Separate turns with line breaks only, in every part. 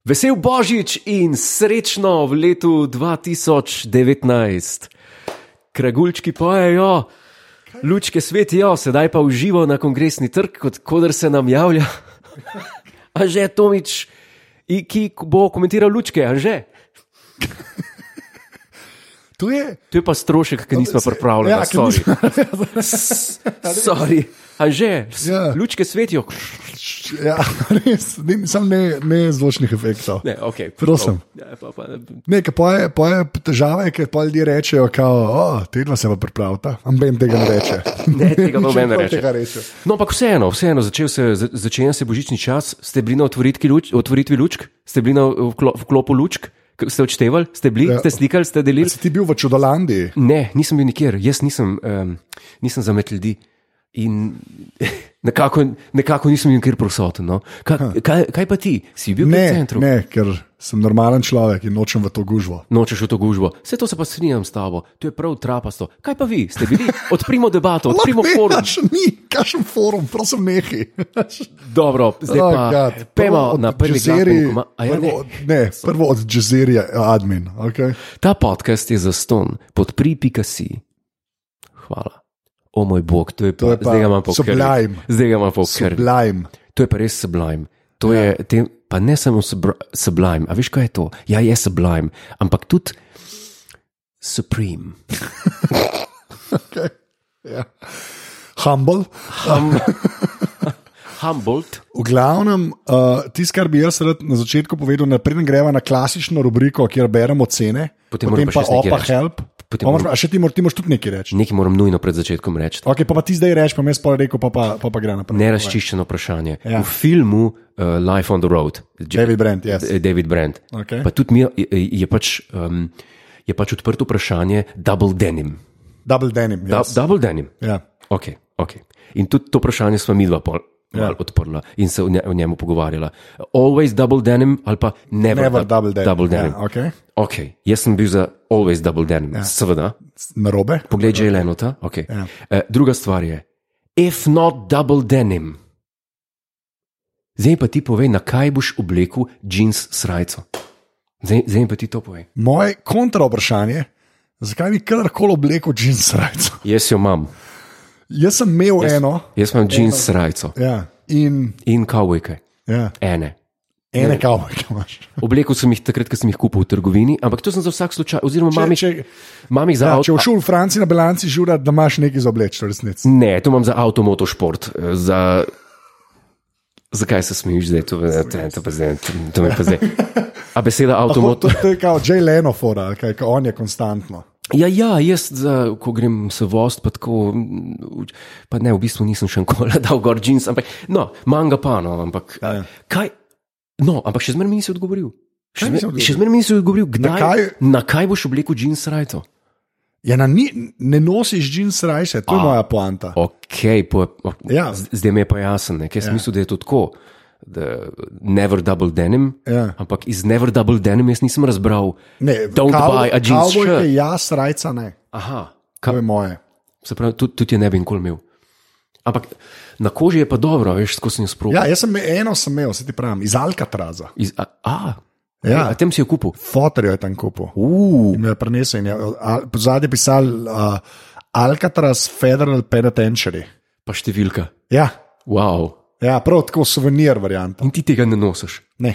Vesel božič in srečno v letu 2019. Kragulčki pojejo, lučke svetijo, sedaj pa uživo na kongresni trg, kot kodr se nam javlja. Anže Tomič, i- ki bo komentiral lučke, anže.
To je.
To je pa strošek, ki nismo pripravljeni.
Ja,
Ja,
ker nismo-
sorry. Anže,
Ja.
lučke svetijo.
ja, res, ne, sam ne, ne zvočnih efektov.
Ne, okay,
Prosim.
Ja, pa, pa,
Ne, ki poje, poje težave, ki pa ljudje rečejo, kao, o, te dva se pa pripravlja, amben tega ne reče.
Ne, tega noben ne
Nič
reče.
tega reče.
No, ampak vseeno, vseeno začel se, za- začenja se božični čas, ste bili na otvoritki luč, otvoritvi lučk, ste bili na vklo- vklopu lučk, K- ste odštevali, ste bili,
Ja.
ste slikali, ste delili.
Si ti bil v Čudolandiji?
Ne, nisem bil nikjer, jaz nisem, um, nisem zamet ljudi. In nekako, nekako nisem nikjer prisoten. No. Kaj, kaj, kaj pa ti, si bil v
Ne,
centru?
ne, ker sem normalen človek in nočem v to gužvo.
Nočeš v to gužvo, vse to se pa strinjam s tabo, to je prav trapasto. Kaj pa vi, ste bili? Odprimo debato, odprimo forum.
Kaš ni, kašem forum, prosim, nehi.
Dobro, zdaj
Oh,
pa
God. Prvo
pojmo
od
na prvi glasbenik.
Jazeri-
Ja,
prvo
ne.
od- ne, prvo od Jezerija, admin. Okay.
Ta podcast je za ston, podpri.si. Hvala. O moj bog, to je
To
pa,
je pa
zdaj ga imam po krvi.
sublime.
Zdaj ga imam po krvi.
Sublime. Ja.
To je pa res sublime. To je, tem, pa ne samo subr- sublime, a veš kaj je to? Ja, je sublime, ampak tudi supreme.
Ja. Humble.
Hum, Humboldt.
V glavnem, uh, tisto, kar bi jaz rad na začetku povedal, ne preden greva na klasično rubriko, kjer beremo cene,
Potem moram
potem
pa še
pa
jaz nekaj
opa
reči.
help.
Potem
A moraš
moram-
pa- A še ti, mor, ti moraš tudi nekaj reči.
Nekaj moram nujno pred začetkom reči.
Ok, pa, pa ti zdaj reči, pa mi sporo reko, pa, pa, pa, pa gre naprej.
Neraščiščeno vprašanje.
Ja.
V filmu uh, Life on the Road, J-
David Brent, yes.
David Brent.
Okej.
Pa tudi mi je, je, pač, um, je pač odprto vprašanje double denim.
Double denim.
Da,
Yes.
double denim.
Ja.
Okay, okay. In tudi to vprašanje smo mi dva pol.
Ja.
Ja. Odprla in se o nje- o njemu pogovarjala. Always double denim ali pa never,
Never
dub-
double denim.
Torej, double denim.
Ja, okay.
Okay. Jaz sem bil za always double denim, ja. seveda.
Na robe.
Poglej, že je Lenota. Okay. Ja.
Ja.
Uh, druga stvar je, if not double denim. Zdaj mi pa ti povej, na kaj boš oblekel jeans srajco. Zdaj, zdaj mi pa ti to povej.
Moje kontra vprašanje, zakaj bi karkoli oblekel jeans rajco?
Jaz jo imam,
Jaz sem imel yes. eno
jaz imam jeans srajco
ja, in
in kavbojke,
ja,
ene.
ene kavbojke imaš.
Oblekel sem jih takrat, ko sem jih kupil v trgovini, ampak to sem za vsak slučaj, oziroma imam jih,
Če,
imam jih za
ja, če
avto.
v šoli v Franciji na bilanci žura, da imaš nekaj za obleč, resnici.
Ne, to imam za avtomotošport. eh, Za... Zakaj se smejiš zdaj? To, to, to, pa zdaj- to, to me pa zdaj. A beseda
To,
avtomoto.
to, to je kot Jay Leno, fora, ali kaj, ko on je konstantno.
Ja, ja jaz, za, ko grem se vost, pa tako, mm, v- pa ne, v bistvu nisem še nikoli dal gor jeans, ampak no, manj ga pa, no, ampak.
Ja, ja.
Kaj? No, ampak še zmeraj mi nisi odgovoril. Še
Kaj nisi
zmer-
odgovoril?
še zmeraj mi nisi odgovoril, kdaj, na kaj,
kaj?
na kaj boš oblekel jeans rajto.
Ja, na, ni, ne nosiš jeans rajše, to je moja poanta.
Ok, po, o, ja.
Ja.
zdaj mi je pa jasno, ker sem ja. mislil, da je to tako. da Never double denim,
Ja.
ampak iz never double denim jaz nisem razbral.
Ne,
Don't buy a jeans
Kavbojke
shirt.
jaz, rajca ne,
Aha,
to
kaj,
je moje.
Se pravi, tudi, tudi je ne bi nikoli imel. Ampak na koži je pa dobro, veš, skozi njo sprožil.
Ja, jaz sem eno sem imel, se ti pravim, iz Alcatraza.
Iz, a, a,
Ja.
a tem si jo kupil.
Fotor jo je tam kupil.
Uh,
Mi je prenesel in je a- po zadnje pisal uh, Alcatraz Federal Penitentiary.
pa številka.
Ja,
Wow.
ja prav tako suvenir varianta.
In ti tega ne nosiš.
Ne.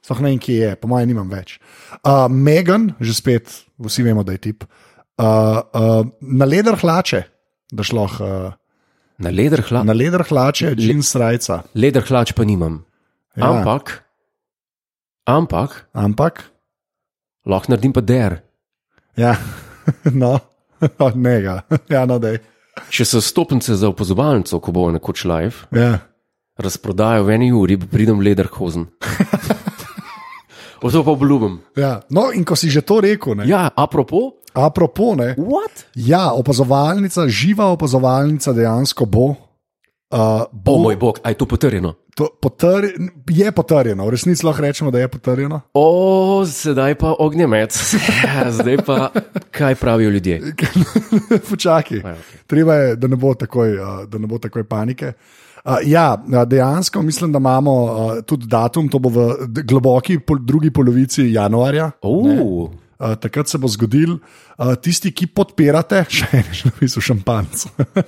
Sploh ne vem, kje je, po mojem, nimam več. Uh, Megan, že spet, vsi vemo, da je tip. Uh, uh, na leder hlače, da šlo. Uh,
Na leder, hla,
na leder hlače, jeans rajca.
leder hlač pa nimam.
Ja.
Ja. Ampak, ampak,
Ampak,
lahko naredim pa der.
ja, no, ne ga, ja, no, da je.
Če se stopnice za opazovalnico, ko bo nekoč live,
Ja.
razprodajo v eni uri, pridem leder hozen. O to pa obljubim.
Ja. No, in ko si že to rekel, ne, ja.
Ja, apropo,
apropo, ne,
what?
Ja, opazovalnica, živa opazovalnica dejansko bo. Uh,
O
bo
moj bog, aj to potrjeno.
to potr, je potrjeno, v resnici lahko rečemo, da je potrjeno.
O, sedaj pa ognjemet, zdaj pa kaj pravijo ljudje.
Počakaj, treba je, da ne bo takoj, uh, da ne bo takoj panike. Uh, ja, uh, dejansko mislim, da imamo uh, tudi datum, to bo v d- globoki pol, drugi polovici januarja.
Uh,
Uh, takrat se bo zgodil, uh, tisti, ki podpirate, še en šlo šampanc.
a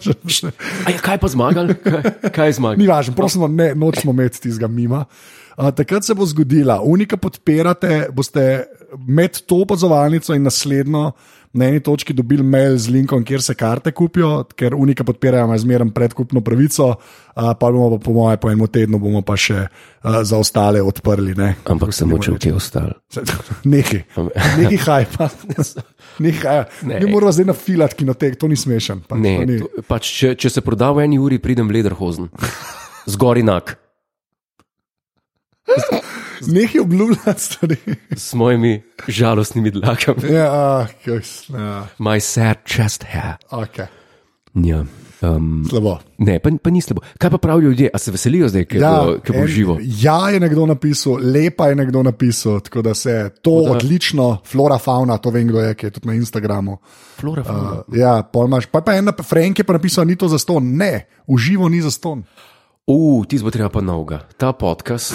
je kaj pa zmagal? Kaj, kaj je
Ni
zmagal?
važno, prosim, ne, nočemo imeti tistega mima. Uh, takrat se bo zgodila, unika podpirate, boste med to opazovalnico in naslednjo na eni točki dobili mail z linkom, kjer se karte kupijo, ker unika podpirajo, ima zmeren predkupno pravico, uh, pa bomo pa, po mojem, po enem tednu bomo pa še uh, za ostale odprli. Ne?
Ampak samo če ti ostali.
Neki, neki hajpa. Neki hajpa.
Ne.
Ne, ne moramo zdaj nafilati kinotek, to ni smešen. Pač,
Ne,
to ni.
to, pač, če, če se proda v eni uri, pridem lederhozen. Zgor enak,
Neki obljubljati stvari.
s mojimi žalostnimi dlakami.
Ja, kjus, ja,
My sad chest hair.
okay.
Ja. Um,
slabo.
ne, pa, pa ni slabo. Kaj pa pravijo ljudje, a se veselijo zdaj, ker ja, bo, ker bo
en-
živo?
Ja, je nekdo napisal, lepa je nekdo napisal, tako da se to da. odlično, flora, fauna, to vem, kdo je, ki je tudi na Instagramu.
Flora, fauna.
Uh, ja, polmaš. Pa, je pa en, nap- Frank je pa napisal, ni to za ston. Ne, uživo ni za ston.
Uh, ti bo treba pa novega. Ta podcast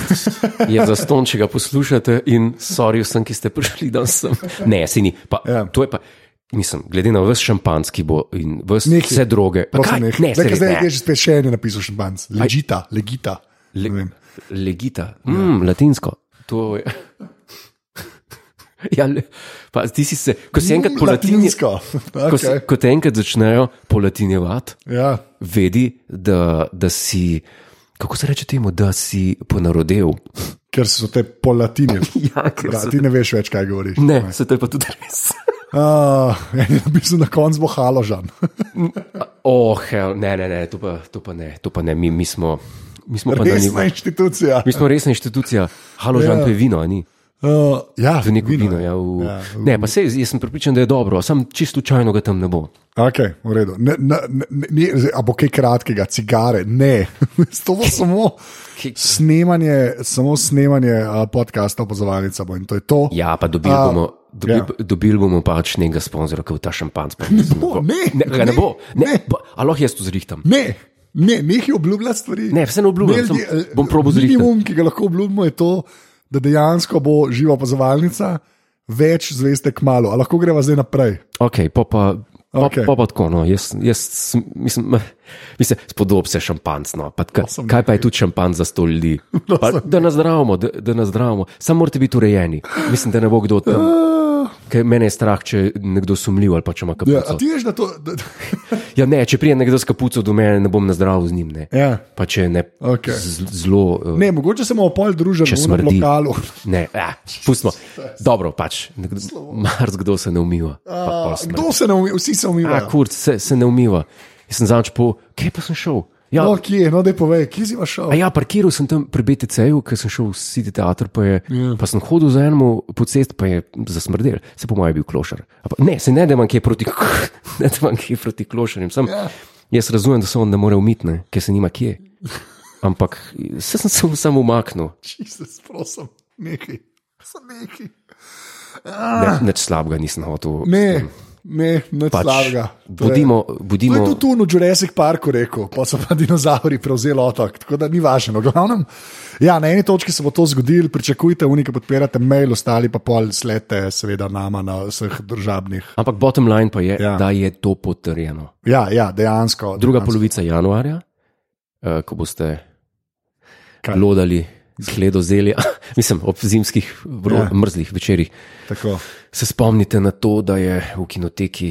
je za ston, če ga poslušate in sorry vsem, ki ste prišli danes sem. Ne, se ni. Pa, ja.
Ja.
To je pa, mislim, glede na vse šampanski bo in vse,
Nekaj.
vse droge. Pa
Prosim,
kaj?
nehaj.
Ne,
Zdaj,
se
ker
res,
zdaj
ne.
je že spet še en je napisal šampanc. Legita, legita. Ne
Le,
vem. Ja.
legita, mm, latinsko. To je. Ja, le, pa, ti si se, ko si enkrat po latinje,
Mm, Latinsko.
ko, si,
Okay.
ko te enkrat začnejo polatinjevati,
Ja.
vedi, da, da si, kako se reče temu, da si ponarodel.
Ker so te polatine.
Ja, ker
Da,
so-
ti ne veš več, kaj govoriš.
Ne, se to je pa tudi res.
Uh, en je napisal na koncu bo haložan.
Oh, hell, ne, ne, ne, to pa, to pa ne, to pa ne, mi, mi smo, mi smo pa na
Resna
nivoju.
inštitucija.
Mi smo resna inštitucija, haložan
Ja.
to je vino, a ni.
Uh, ja,
To je neko vino. Ja, v... ja,
Ja,
v... Ne, pa se jaz sem pripričan, da je dobro, sam čisto slučajno ga tam ne bo.
Okay, v redu. Ne, ne, ne, ne, ne, zdaj, a bo kaj kratkega, cigare, ne. to bo samo
Ki-
snemanje, samo snemanje uh, podcasta opazovalnica bo in to je to.
Ja, pa dobili
A,
bomo. Dobil,
ja.
yeah. dobil bomo pač nekega sponzorja, ki bo ta šampanc prinesel.
bo, ne,
ne, ga ne
ne,
bo, ne,
ne.
bo. Aloh jaz to zrihtam.
Ne, ne, nehaj obljubljati stvari.
Ne, vse ne obljubljam,
Ne,
samo
eh,
bom probal zrihtati.
Minimum, ki ga lahko obljubimo, je to, da dejansko bo živa opazovalnica, več zveste k malu. A lahko greva zdaj naprej.
Okay, pa, pa, pa, okay.
Okej.
pa, pa tako, no, jaz, jaz sem- mislim, eh, mislim, spodob se šampanc. No, pa, kaj,
Prosim,
kaj pa je tudi šampanc za sto ljudi? Pa, da nazdravimo, da, da nazdravimo, samo morate biti urejeni. Mislim, da ne bo kdo tam.
Uh,
Ker mene je strah, če je nekdo sumljiv ali pa če ima
ja,
kapuco.
a ti veš, da to. Da,
Ja, ne, če prije nekdo s kapuco do mene, ne bom nazdravil z njim. Ne.
ja.
Pa če je ne,
Okej.
z- zelo. eh,
Ne, mogoče se bomo pol družili
Če
v enem
smrdi.
lokalu.
Ne, eh, pustimo. Dobro, pač. Mars kdo se ne umiva. Pa, pol smrdi.
Kdo se ne umiva, vsi se
A,
umivajo.
kurc, se, se ne umiva. Jaz sem zanč po, kje pa sem šel? Ja,
No, kje, no, da povej, kje si pa šel.
a ja, parkiral sem tam pri BTC-ju, ker sem šel v City Theater, pa, je,
Ja.
yeah. pa sem hodil za eno po cest, pa je zasmrdel. Se po mojem je bil klošar. A Pa, ne, se ne, da imam kje proti, ne, da imam kje proti klošarjem. Sam,
Ja.
yeah. Jaz razumem, da se on ne more umitne, ker se nima kje. Ampak se sem se samo umaknil,
Jezus, prosim, neki, sem neki. Ah.
ne, nič slabega nisem hotel.
Ne, ne, ne pač, slabega. To je-
Budimo,
To je
budimo,
tudi tu v Jurassic Parku rekel, pa so pa dinozauri prevzeli otok, tako da ni važno. V Glavnem, ja, na eni točki se bo to zgodilo, pričakujte, unika podpirate mail, ostali pa pol slete, seveda nama na vseh državnih.
ampak bottom line pa je, yeah.
Ja.
da je to potrjeno.
Ja, ja dejansko.
Druga
dejansko.
polovica januarja, eh, ko boste
Kaj?
lodali, sledo zelja, mislim, ob zimskih, vro, ja.
Ja.
mrzlih večerjih,
Tako.
se spomnite na to, da je v kinoteki.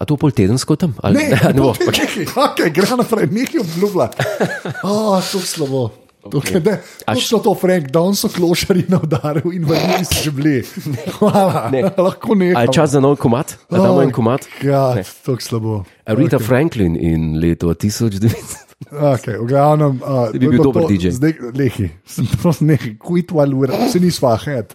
A to pol tedensko tam? Ali,
Ne, ne, ne bo. Okay, gre naprej, nekaj obljublja. Oh, to je slabo. Okay. Ne,
A
točno to, Frank, da so klošari na udaru in vrnili so že bili. Hvala,
Ne.
ne. lahko nekaj.
Ali je čas za nov komat? Da damo en komat?
Ja, to je slabo.
Rita okay. Franklin in leto 1900.
Okay, v glavnem, uh,
bi bil dober DJ.
Zdaj, lehi, sem prosim, nekaj, quit while we're, se nisva head.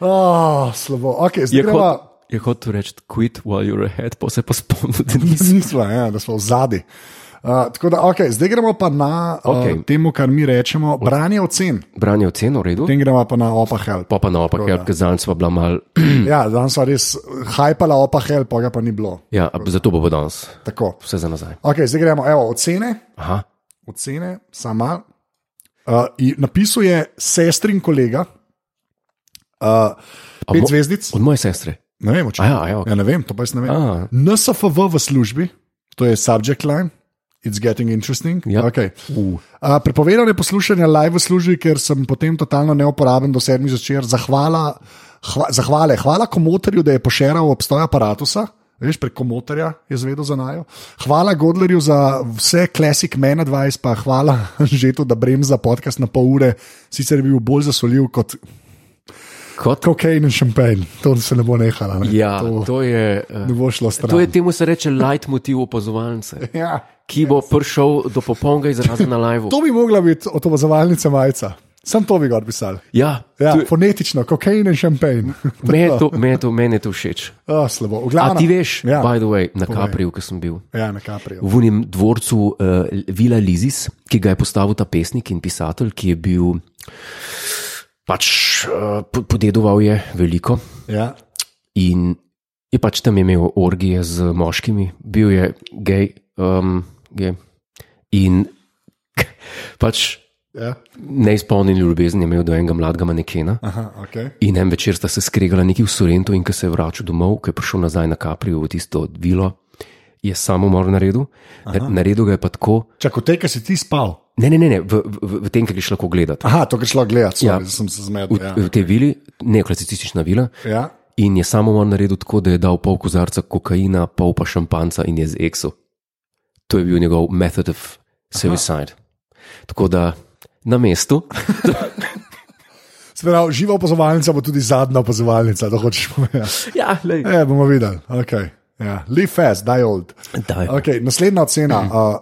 Oh, slabo. Okay, zdaj
Je
greva,
hot- je hotel reči, quit while you're ahead, pa se pa spomnil, da nisi.
nisva, ja, da smo v zadnji. Uh, tako da, okay, zdaj gremo pa na uh,
Okej.
okay. temu, kar mi rečemo, branje ocen.
Branje oceno, v redu.
Potem gremo pa na opa help.
Pa pa naopak, ja, ker zanj sva bila mal.
Ja, danes so res hajpala opa help, pa ga pa ni bilo.
Ja, a zato bo pa danes.
Tako.
Vse za nazaj.
Ok, zdaj gremo, evo, ocene.
Aha.
V ocene, sama. Uh, in napisal je sestrin kolega, uh,
A
pet
mo-
zvezdic.
Od moje sestre.
Ne vem, če
A ja, a ja, ok.
ja, ne vem, to pa jaz ne vem.
A.
NSFV v službi, to je subject line. It's getting interesting.
Ja.
Okay.
Uh.
A, prepovedano je poslušanje live v službi, ker sem potem totalno neuporaben do sedmih zvečer. Zahvala, hva, zahvale, hvala komotorju, da je pošeral obstoj aparata. Veš, prek komotorja je zvedel za najo. Hvala Godlerju za vse klasik Mena 20, pa hvala Žetu, da brem za podcast na pol ure. Sicer je bil bolj zasolil kot
Kot
kokain in šampanj, to se ne bo nehala. Ne?
ja,
to,
to je. eh,
ne bo šlo stran.
To je temu se reče leitmotiv opazovalnice,
ja.
ki bo prišel do popolnega izraza na live.
to bi mogla biti otobozovalnica majica. Sam to bi gor pisal.
Ja,
Ja,
to-
fonetično, kokain in šampanj.
meni je to- meni je to- meni je to všeč.
Oh, slabo.
A
V glavnem,
ti veš,
Ja,
by the way, na Kapriju, ki sem bil.
ja na kapriju.
v unem dvorcu uh, Vila Lizis, ki ga je postavil ta pesnik in pisatelj, ki je bil pač uh, podedoval je veliko
Ja.
in je pač tam imel orgije z moškimi, bil je gej, um, gej. in pač
Ja.
neizpolnjen ljubezen je imel do enega mladega manekena.
Aha, okay.
In en večer sta se skregala nekje v Sorrentu, in ko se je vračal domov, ko je prišel nazaj na Kaprijo v tisto vilo, je samomor naredil. Aha. Naredil ga je pa tako,
Čakaj, teka si ti spal.
ne, ne, ne, ne v, v, v tem, kar greš lahko gledati.
Aha, to greš lahko gledati,
Ja.
ja. sem se
V,
zmedel. Ja.
v tej vili, ne klasicistična vila.
Ja.
In je samomor naredil tako, da je dal pol kozarca kokaina, pol pa šampanca in je z eksu. To je bil njegov method of suicide. Aha. Tako da na mestu,
Spravo, živa opazovalnica bo tudi zadnja opazovalnica, to hočeš povedati.
ja, lej.
Ja, bomo videli. Okay. Ja. Live fast, die old.
Daj,
Okay, naslednja ocena. Uh,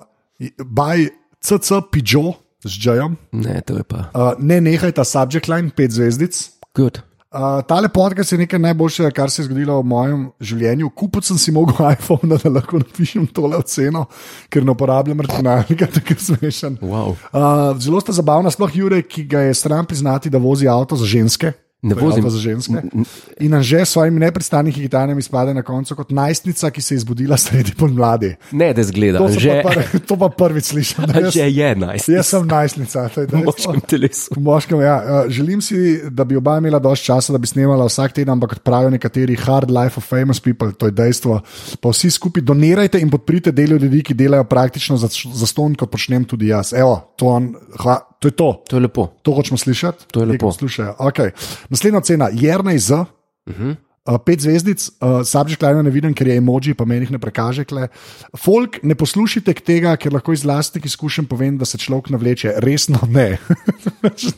by CC Pijo z Džajem,
ne, to je pa.
uh, ne nehajta subject line, pet zvezdic.
Good.
Uh, tale podcast je nekaj najboljšega, kar se je zgodilo v mojem življenju. Kupil sem si mogel iPhone, da lahko napišem tole oceno, ker ne uporabljam računalnika, tako je smešen.
Wow.
Uh, zelo sta zabavna, sploh Jurek, ki ga je stran priznati, da vozi avto za ženske.
Ne
To je
vozim.
avto za ženske. In Anže s svojimi nepristanih higitanjem izpade na koncu kot najstnica, ki se je zbudila sredi pomladi.
Ne, da zgleda,
To,
že,
že... pa, Ja. prvi- to pa prvič slišim. da Jaz,
že je najst.
jaz sem najstnica, to je
v
dejstvo.
moškem telesu.
V moškem, ja. Eh, Želim si, da bi oba imela dovolj časa, da bi snemala vsak teden, ampak kot pravijo nekateri, hard life of famous people, to je dejstvo. Pa vsi skupaj donirajte in podprite delo ljudi, ki delajo praktično za, za ston, kot počnem tudi jaz. Evo, to, on, hva, to je to.
To je lepo.
To hočemo slišati.
To je lepo.
Slušajo. Okay. Naslednja cena, Jrnej Z. Uh
Mhm.
-huh. Uh, pet zvezdic, uh, subject line ne vidim, ker je emoji, pa meni jih ne prekaže. Kle. Folk, ne poslušajte k tega, ker lahko iz lastnih izkušenj povem, da se človek navleče. Resno ne.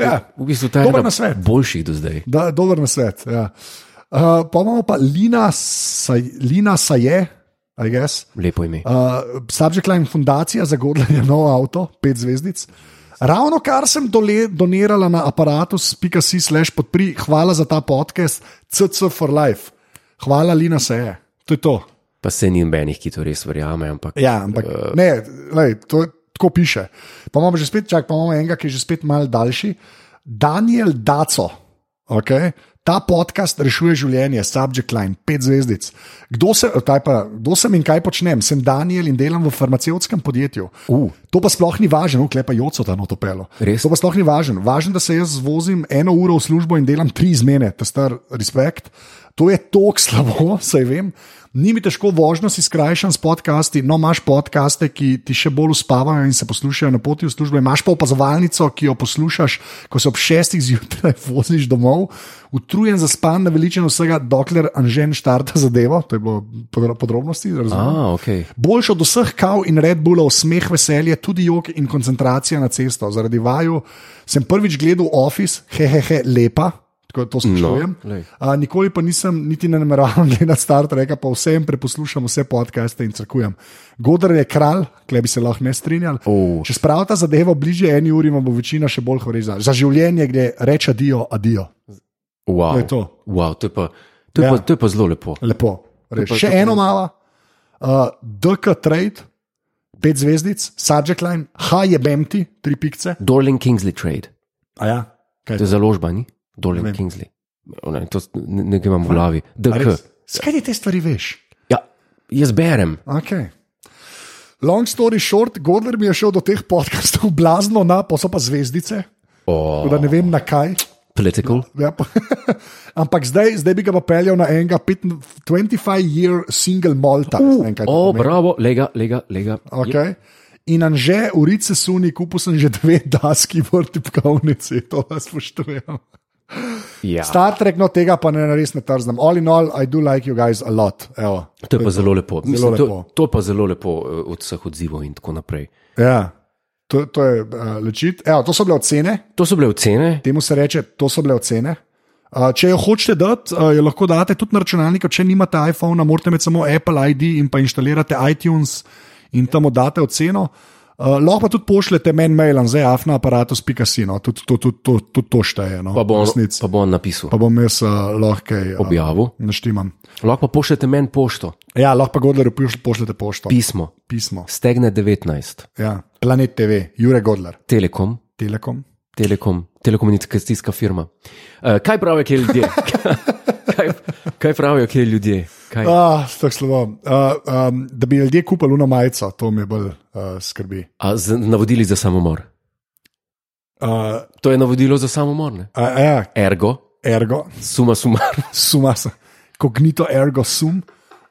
ja,
V bistvu ta je
Dober
ena
nasvet.
boljših do zdaj.
da, dober na svet. Ja. Uh, pa imamo pa Lina, saj, Lina Saje, I guess.
Lepo ime.
Uh, subject line Fundacija za Godlanje nov avto, pet zvezdic. Ravno kar sem dole, donirala na aparatus.si slash podpri, hvala za ta podcast, CC for life. Hvala, Lina se je. To je to.
Pa se ni nobenih, ki to res verjame, ampak
Ja, ampak uh, ne, lej, to je- tako piše. Pa imamo že spet, čak, pa imamo enega, ki je že spet mal daljši. Daniel Daco. Okay? Ta podcast rešuje življenje, subject line, pet zvezdic. Kdo, se, eh, taj pa, kdo sem in kaj počnem? Sem Daniel in delam v farmacevtskem podjetju. Uh. To pa sploh ni važno, uklepa joco ta notopelo.
Res?
To pa sploh ni važno. Važno, da se jaz vozim eno uro v službo in delam tri izmene, ta star respekt. To je tok slabo, saj vem. Ni mi težko vožnjo si skrajšam s podcasti, no imaš podcaste, ki ti še bolj uspavajo in se poslušajo na poti v službo. Imaš pa opazovalnico, ki jo poslušaš, ko se ob šestih zjutraj voziš domov, utrujen, zaspan, naveličen vsega, dokler Anžen štarta zadevo. To je bilo podro- podrobnosti, razumem.
Ah, ok.
Boljši od vseh kav in Red Bullov, smeh, veselje, tudi jog in koncentracija na cesto. Zaradi vaju sem prvič gledal Office, hehehe, lepa. Tako to sprašujem.
No, glej.
No, nikoli pa nisem niti ne nameraval gledati Star Treka, pa vsem preposlušam vse podcaste in crkujem. Godar je kralj, klej bi se lahko ne strinjal.
Oh.
Če spravita zadevo bliže eni uri, vam bo večina še bolj horizontalna. Za življenje gre reči adijo, adijo.
Wow.
To je to.
Wow, to je pa, to je
Ja.
pa, to je pa zelo lepo.
Lepo. Res.
To pa-
Še
to pa-
eno malo, uh, DK Trade, pet zvezdic, Subject Line, H je Bemti, tri pikce.
Dorling Kingsley Trade,
Ja.
to je Torej, založba, ni? Dorling Kingsley. O, Ne, to s- ne, ne imam v glavi. DK.
Skaj ti te stvari veš?
Ja, jaz berem.
Okay. Long story short, Gordon mi je šel do teh podkastov blazno na, pa so pa zvezdice,
Oh,
tako da ne vem na kaj.
political.
Ja, pa, ampak zdaj, zdaj bi ga pa peljal na enega 25-year single malta. Uh,
O, oh, bravo, lega, lega, lega.
Okay. In anže, urice suni, kupil sem že dve daski v tipkovnici, to vas spoštujem.
Ja.
Star Trek, no tega pa ne res ne trznem. All in all, I do like you guys a lot. Evo.
To je pa zelo lepo. Mislim,
lepo.
To, to je pa zelo lepo eh, od vseh odzivov in tako naprej.
Ja, to, to je uh, lečit. Evo, to so bile ocene,
To so bile ocene.
temu se reče, to so bile ocene. Uh, če jo hočete dati, uh, jo lahko date tudi na računalniku, če nimate iPhona, morate imeti samo Apple ID in pa inštalirate iTunes in tam date oceno. Uh, lahko pa tudi pošljete meni mail, zdaj afnaapparatus.sino, no. tudi to, tudi to, tudi to šteje. No,
Pa
v
bom,
resnici.
pa bom napisal.
pa bom jaz uh, lahko kaj, uh,
Objavil.
naštimam.
Lahko pa pošljete meni pošto,
Ja, lahko pa Godlerju pošl- pošljete pošto,
pismo,
pismo.
stegne 19,
Ja. Planet TV, Jure Godler,
Telekom,
Telekom.
Telekom, telekomunikacijska firma. Eh, Kaj pravijo kje ljudje? Kaj, kaj pravijo kje ljudje? Kaj?
Ah, tako slabo. Uh, um, da bi ljudje kupili luno majico, to me bolj uh, skrbi.
A, z, navodili za samomor.
Uh,
To je navodilo za samomor, ne?
a, ja,
Ergo,
ergo,
suma sumar,
suma se, kognito ergo sum.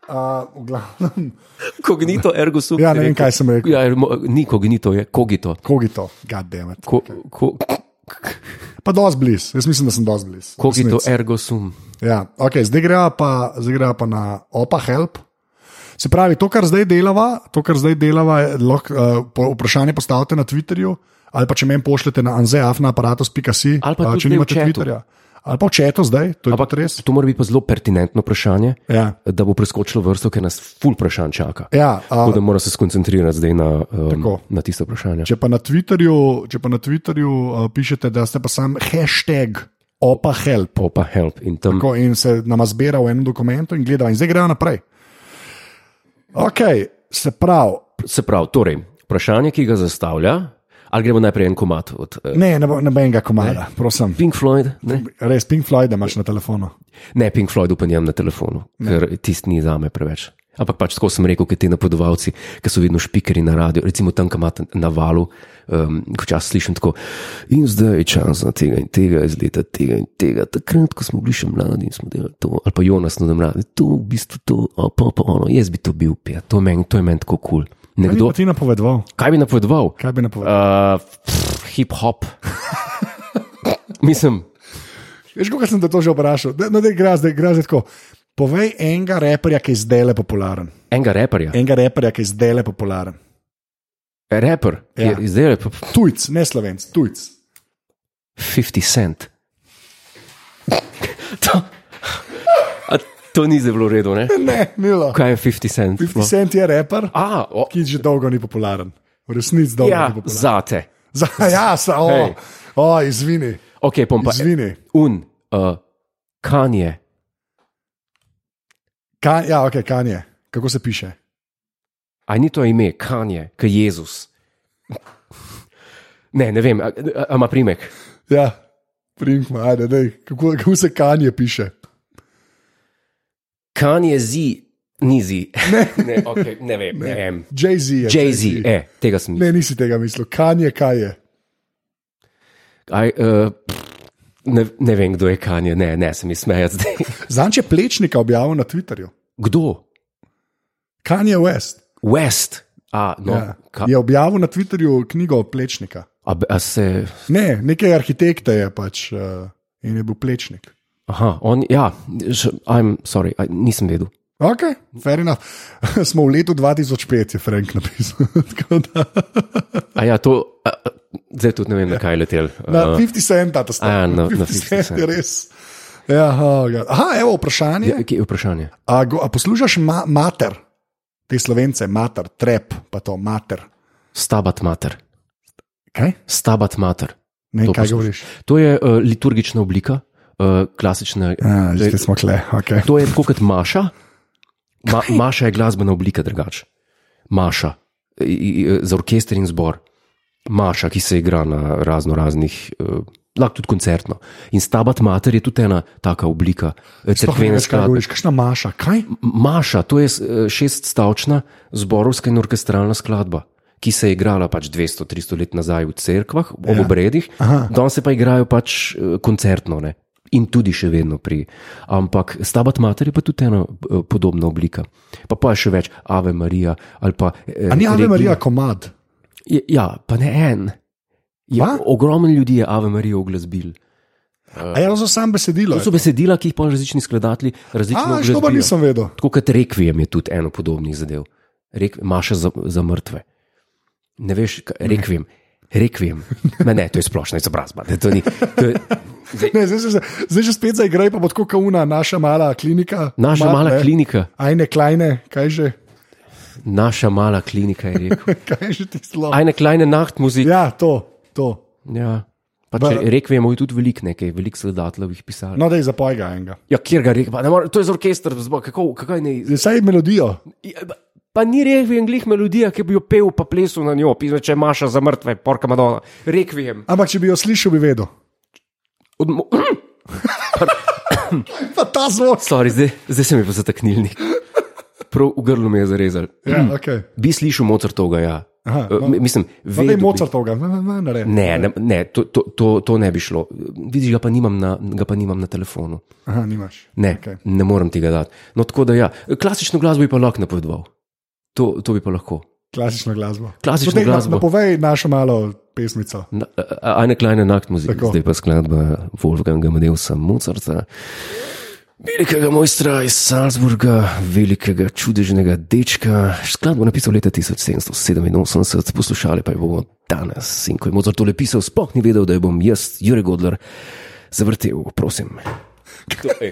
Uh, v glavnem,
kognito, ergo sum.
Ja, ne vem, kaj sem rekel.
Ja, er, mo- ni kognito, je kogito.
kogito, goddammit.
Ko, ko,
Pa dosti blizu, jaz mislim, da sem dosti blizu.
kogito, ergo sum.
Ja, okay, zdaj greva pa, zdaj greva pa na opa help. Se pravi, to, kar zdaj delava, to, kar zdaj delava je, lahko, uh, po- vprašanje postavite na Twitterju, ali pa če meni pošljete na anzeafnaaparatus.si,
Ali pa tudi
eh, če
zdaj v
nimate
chatu.
Twitterja. Ali pa v četu zdaj, Ja, to je pa res.
To mora biti pa zelo pertinentno vprašanje,
Ja.
da bo preskočilo vrsto, ker nas ful vprašanj čaka.
Ja,
Tako
a,
da moram se skoncentrirati zdaj na, um,
Tako.
na tisto vprašanje.
če pa na Twitterju, če pa na Twitterju uh, pišete, da ste pa sam hashtag opa help.
Opa, help in tam.
Tako, in se nama zbira v enem dokumentu in gleda, in zdaj gremo naprej. Ok, se pravi,
Se pravi, torej, vprašanje, ki ga zastavlja, ali gremo najprej en komat od uh,
ne, ne E, bo- nobenega komada, prosim.
Pink Floyd? Ne,
Res, Pink Floyd imaš na telefonu.
ne Pink Floyd upanjam na telefonu, ne. ker tisti ni zame preveč. Ampak pač tako sem rekel, ker ti napovedovalci, ki so vedno špikeri na radiju, recimo tam, kam imate na valu, um, ko čas slišim tako. In zdaj je čas za tega in tega, iz leta tega in tega. Takrat, ko smo bili še mladi in smo delali to, ali pa Jonas na mladi, to v bistvu to, a pa pa ono, jaz bi to bil, pija, to je meni men tako kul. Cool.
Kaj bi
Nekdo,
pa ti napovedoval?
kaj bi napovedoval?
Kaj bi napovedoval?
Uh, pff, Hip-hop. Mislim,
Veš, kako sem te to že vprašal? Da- No, da gre zdaj, gre zdaj tako. Povej enega reperja, ki je zdaj le popularen.
enega raperja.
Enega reperja, ki je zdaj le popularen.
Raper,
Ja.
ja. zdaj je pa
Tujc, ne slovenc, tujc.
50 cent. To, a to ni zelo redo, ne?
Ne, milo.
Kaj je 50 cent? No.
50 cent je reper,
A, o,
ki že dolgo ni popularen. V resnici dolgo
ja,
ni popularen.
zate.
Za, ja, sa, o,
Hej.
hey. o, izvini,
Ok, pom pa.
izvini.
Un, uh, kanje,
Kan, ja, ok, kanje. Kako se piše?
a ni to ime, kanje, kaj Jezus. Ne, ne vem, a- a- a ima primek.
Ja, primkma, ajde, dej. Kako, kako se kanje piše?
Kanje zi, ni zi. Ne, ne, okay, ne vem, ne vem.
Jay-Z je.
Jay-Z, e, tega sem jaz.
Ne, nisi tega mislil. Kanje, kaj je?
Uh, ne, ne vem, kdo je Kanje, ne, ne, sem jih smejal zdaj.
Zanče plečnika objavil na Twitterju.
Kdo?
Kanje West
West. A, no,
ja.
ja. ka,
je objavil na Twitterju knjigo Plečnika.
a, b- a se.
Ne, nekaj arhitekta je pač uh, in je bil Plečnik.
Aha, on, ja, š, I'm sorry, a, nisem vedel.
Ok, fair enough. Smo v letu 2005, je Frank napisal. Tako da,
A ja, to, a, a, zdaj tudi ne vem, na kaj je letel. Uh,
na 50 centa, to
a,
stane.
na- na 50
cent je
cent. Ja.
res. Ja, oh, God. Aha, evo vprašanje.
kje je vprašanje?
A, go, a poslušaš ma, mater, te slovence, mater, trep, pa to mater.
Stabat mater.
Kaj?
Stabat mater.
Ne,
To
kaj
poslušaš.
govoriš?
To je uh, liturgična oblika, uh, klasična.
A,
to, je,
zdaj smo kle. Okay.
to je tako kot maša. Ma, maša je glasbena oblika drugače. Maša i, i, za orkester in zbor. Maša, ki se igra na razno raznih uh, lahko tudi koncertno. In stabat mater je tudi ena taka oblika eh,
Sploh ne
cerkvene
veš, kaj
skladbe.
govoriš, kakšna maša, kaj?
Maša, to je eh, šeststavčna zborovska in orkestralna skladba, ki se je igrala pač 200-300 let nazaj v cerkvah, v
Ja.
obredih,
Aha.
danes se pa igrajo pač eh, koncertno. Ne? In tudi še vedno pri. Ampak stabat mater je pa tudi ena eh, podobna oblika. Pa pa je še več Ave Marija ali pa. eh,
A ni Ave
Regina.
Marija komad?
Je, ja, pa ne en. Je,
Kva?
ogromno ljudi je Ave Marija oglasbil.
A ja, to so sam besedilo.
To so besedila, ki jih pa različni skladatelji različno
A, še to pa
oglasbijo.
nisem vedel.
Tako kot rekvijem je tudi eno podobnih zadev. Rek, maša za, za mrtve. Ne veš, kaj- rekvijem. Rekvijem. Ne, ne, to je splošna izobrazba. Ne, to ni, to je, zdaj,
Ne, zdaj, zdaj, zdaj že spet zaigraj, pa bo tako kauna, naša mala klinika.
naša
Mat,
mala
ne.
klinika,
Ajne, klajne, kaj že,
naša mala klinika je rekel.
kaj že ti zlo.
Ajne kleine nachtmuzik.
Ja, to, to.
Ja. Pa
Ba-
če rekvijemo, je tudi veliko nekaj, veliko sledateljevih pisal.
No, da je zapoj ga enega.
Ja, kjer ga rekvijemo, to je z orkester, zbo- kako, kako je ne.
Zdaj melodijo.
Ja, pa- Pa ni rekvijem glih melodija, ki bi jo pel, pa plesal na njo, pisal, če je maša za mrtve, porka madona. Rekvijem.
Ampak če bi jo slišal, bi vedel.
Od mo-
Pa ta zvok.
Sorry, zdaj, zdaj se mi je pa zataknil. nek. Prav v grlu me je zarezal.
Ja, okay.
Bi slišal Mozartovga, ja.
Aha,
Eh,
no.
mi- Mislim,
No, da
vedel
je
bi-
Mozartovga, ne, ne, ne, ne.
Ne, ne, ne to, to, to, to ne bi šlo. Vidiš, ga pa nimam na, ga pa nimam na telefonu.
Aha, nimaš.
Ne,
Okej.
okay. ne morem tega dati. No, tako da ja, klasično glasbo bi pa lahko napovedoval. To, to bi pa lahko.
Klasično glasbo.
Klasično
Potem na-
glasbo.
Napovej našo malo pesmico.
Na- a- a- Eine kleine Nachtmusik,
Tako.
zdaj pa skladba Wolfganga Madeusa Mozarta, velikega mojstra iz Salzburga, velikega čudežnega dečka. Skladbo je napisal leta 1787, poslušali pa jo bomo danes. In ko je Mozart tole pisal, sploh ni vedel, da jo bom jaz, Jure Godler, zavrtel, prosim. To, ej,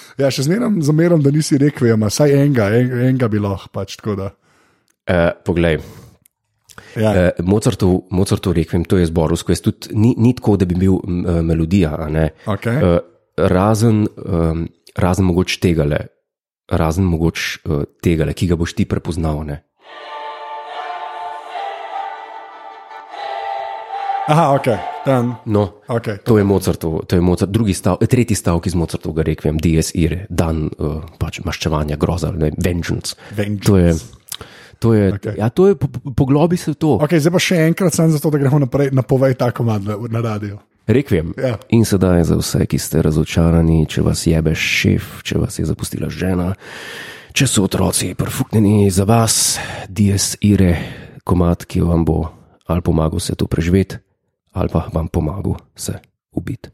ja, še zmeraj zameram, da nisi rekel, ima vsaj enega, en, enega bi lahko pač tako da.
Uh, poglej,
Ja,
uh, Mozartov, Mozartov rekvim, to je zborovsko, jaz tudi ni, ni tako, da bi bil m, eh, melodija, a ne.
okay.
Uh, razen, um, razen mogoče tegale, razen mogoče uh, tegale, ki ga boš ti prepoznal, ne.
Aha, ok, tam.
No.
Okay.
To je Mozartov, to je Mozart, drugi stav, eh, tretji stavek iz Mozartovega rekviem, Dies ire, dan uh, pač maščevanja, groza, ne, vengeance.
Vengeance.
To je, to je,
Okej.
okay. ja, to je po, po- poglobi se v to.
ok, zdaj pa še enkrat, samo zato, da gremo naprej, napovej ta komad na, na radio.
Rekviem.
Ja.
In sedaj za vse, ki ste razočarani, če vas jebe šef, če vas je zapustila žena, če so otroci prfuknjeni za vas, dies ire, komat, ki vam bo ali pomagal se to preživeti, ali pa vam pomagal se ubiti.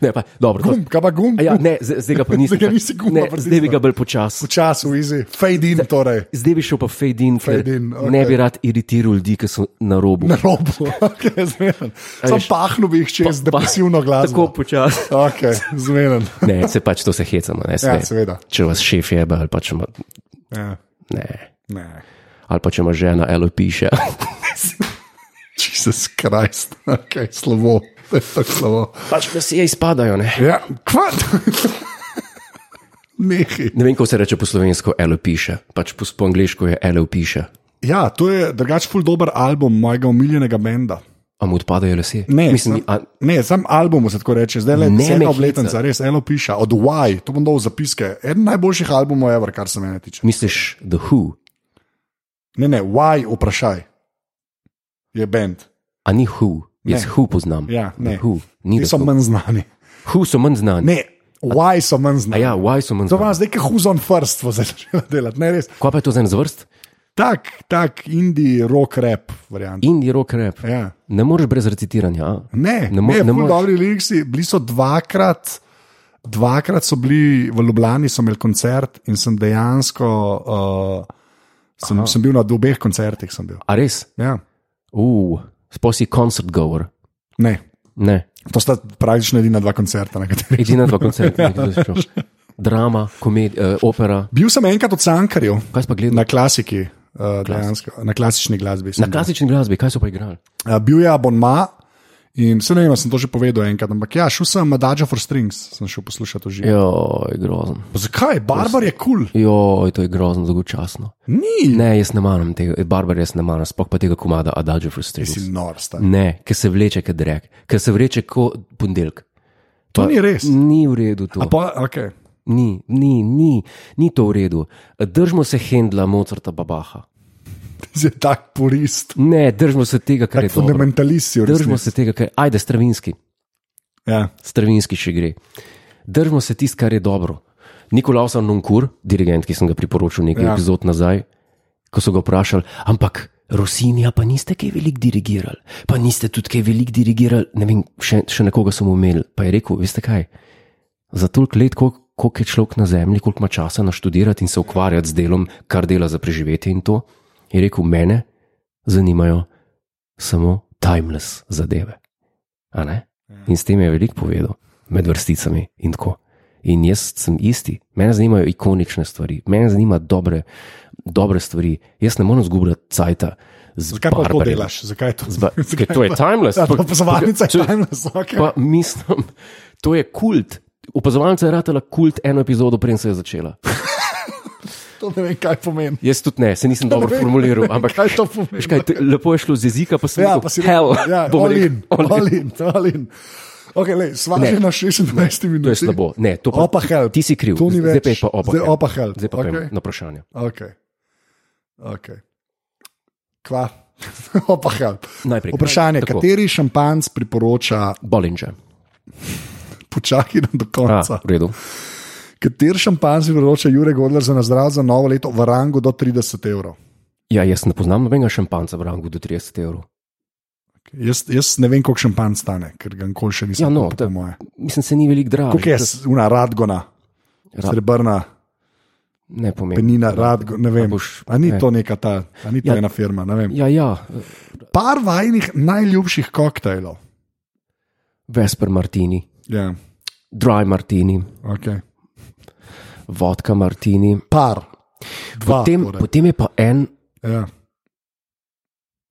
Ne, pa dobro. to-
Gumb, kaj pa gumb?
A Ja, ne, z- zdaj ga pa nisem.
Zdaj ga nisi gumba
ne, zdaj bi
pritisnil.
ga bolj počasi.
Počas, v izi, fade in torej,
Zdaj bi šel pa fade in, ker
Fade in, okej.
ne bi rad iritiral ljudi, ki so na robu.
na robu. Okay, zmeren. Sam
veš.
pahnil bi jih čez
Pa-
depresivno
Tako
glasbo.
počasi.
Ok, zmeren.
Ne, se pač to se hecamo. Ne, se,
Ja, seveda.
Če vas šef jebe ali pa če ima,
Ja.
ne,
Ne.
ali pa če ima žena, elo piše.
Jezus Krist, okay, slabo, to je tako slabo.
pač vsi je izpadajo. Ne?
Ja, kvat. Nehi.
ne vem, kako se reče po slovensko, elo piše. Pač po, po angliško je elo piše.
Ja, to je drugač ful dober album mojega omiljenega benda.
A mu odpadajo lesje?
Ne,
Mislim,
sam,
a,
ne, sam album se tako reče, zdaj le
Ne me
deseta
hecat.
obletnica, res eno piše, od Why, to bom dal v zapiske. Eden najboljših albumov, ever, kar se mene tiče.
misliš, the who,
Ne, ne, Why, vprašaj. Je bend.
a ni who. Jaz
Ne.
who poznam.
Ja,
The
ne.
who. Ni
Ti
the
so
who.
manj znani.
who so manj znani.
Ne, Why so manj
A
znani.
ja, why so manj
To
znani.
vam zdaj, ki huzon first, bo začela delati, ne res.
Kaj pa je to za en zvrst?
Tak, tak, indie, rock, rap, variant.
Indie rock rap.
Ja.
Ne moreš brez recitiranja. a?
Ne,
Ne
ne,
mo-
ne,
ne
ne
moreš.
dobri liriksi, bili so dvakrat, dvakrat so bili v Ljubljani, so imeli koncert in sem dejansko, uh, sem, sem bil na obeh koncertih. sem bil.
A res?
Ja.
Uf, sposi koncert govor.
Ne,
Ne,
To sta praktično edina dva koncerta, na katerih
edina dva koncerta, ki jih videl. Drama, komedija, eh, opera.
Bil sem enkrat od Cankarjev
Kaj si pa gledal?
na klasiki, uh, dejansko, na klasični glasbi. sem
Na klasični glasbi, kaj so pa igrali?
bil. Uh, bil je abonma in vse ne vem, a sem to že povedal enkrat, ampak ja, šel sem na Dajo for Strings, sem šel poslušati že.
Jo, je grozno.
Pa zakaj? Barbar je kul, cool.
Jo, to je grozno, dolgočasno.
ni.
Ne, jaz ne maram tega, Barbar, jaz ne maram, spok pa tega komada Adagio Frustrated.
Si nor, star.
Ne, ker se vleče, ker drek, ker se vleče kot ponedeljek.
To ni res.
Ni v redu to.
Pa, okay.
Ni, ni, ni, ni to v redu. Držimo se Hendla, Mozarta, Babaha.
Ti si tak purist,
Ne, držimo se tega, kar je dobro.
fundamentalist si v
Držimo se
resnici.
tega, kar je. Ajde, stravinski,
Ja.
stravinski še gre. Držimo se tisto, kar je dobro. Nikolaus Nunkur, dirigent, ki sem ga priporočil nekaj
Ja.
ja. epizod nazaj, ko so ga vprašali, ampak Rosinija, pa niste kaj velik dirigirali, pa niste tudi kaj velik dirigirali, ne vem, še, še nekoga sem umel. Pa je rekel, veste kaj, za toliko let, koliko koliko je človek na zemlji, koliko ima časa naštudirati in se ukvarjati z delom, kar dela za preživetje in to, je rekel, mene zanimajo samo timeless zadeve. A ne?
Ja.
In s tem je veliko povedal, med vrsticami in tako. In jaz sem isti, mene zanimajo ikonične stvari, mene zanima dobre, dobre stvari. Jaz ne morem zgubljati cajt.
Zakaj pa to delaš? Zakaj to?
Zba, ker to je timeless.
Ja,
pa-
Opazovalnica
če-
je timeless. Okay.
Pa mislim, to je kult. Opazovalnica je ratela kult eno epizodo, preden se je začela.
To ne vem, kaj pomeni.
Jaz tudi ne, se nisem dobro
Ja, Ne vem,
formuliral, ampak
kaj to pomeni?
veš kaj, te- lepo je šlo z jezika, pa sem
Ja,
rekel,
pa si
hell,
ja,
bom rekel,
olin,
all in.
olin, olin. Okay, lej, sva
Ne.
že na 26 minutah.
To je slabo. Ne, to pa,
Opa, help.
Ti si kriv.
To ni
Zdaj
več.
pa je pa opa.
Zdaj
help.
opa help.
Zdaj pa okay.
Okej.
na vprašanje.
Okay. Okay. Kva? Opa, help.
Najprej.
Vprašanje,
Tako.
kateri šampanc priporoča,
Bolinče.
počakaj nam do
A,
konca.
v redu.
Kateri šampanc priporoča Jurek Godler za nazdrav za novo leto v rangu do 30 evrov?
Ja, jaz ne poznam nobenega šampanca v rangu do 30 evrov.
Jaz, jaz ne vem, koliko šampanc stane, ker ga nikoli še nisem
Ja, no,
kupil,
to-
po moje.
Mislim, se ni velik draž.
Koliko je, s- una radgona,
Ra-
srebrna,
Ne pomeni.
penina, radgona, ne
A
vem.
boš-
A ni
ne.
to neka ta, a ni to
Ja.
ena firma, ne vem.
Ja, ja,
Par vajnih najljubših koktajlov.
Vesper Martini,
Ja,
Dry Martini,
okay.
Vodka Martini.
Par. Dva,
Potem,
torej.
potem je pa en,
Ja.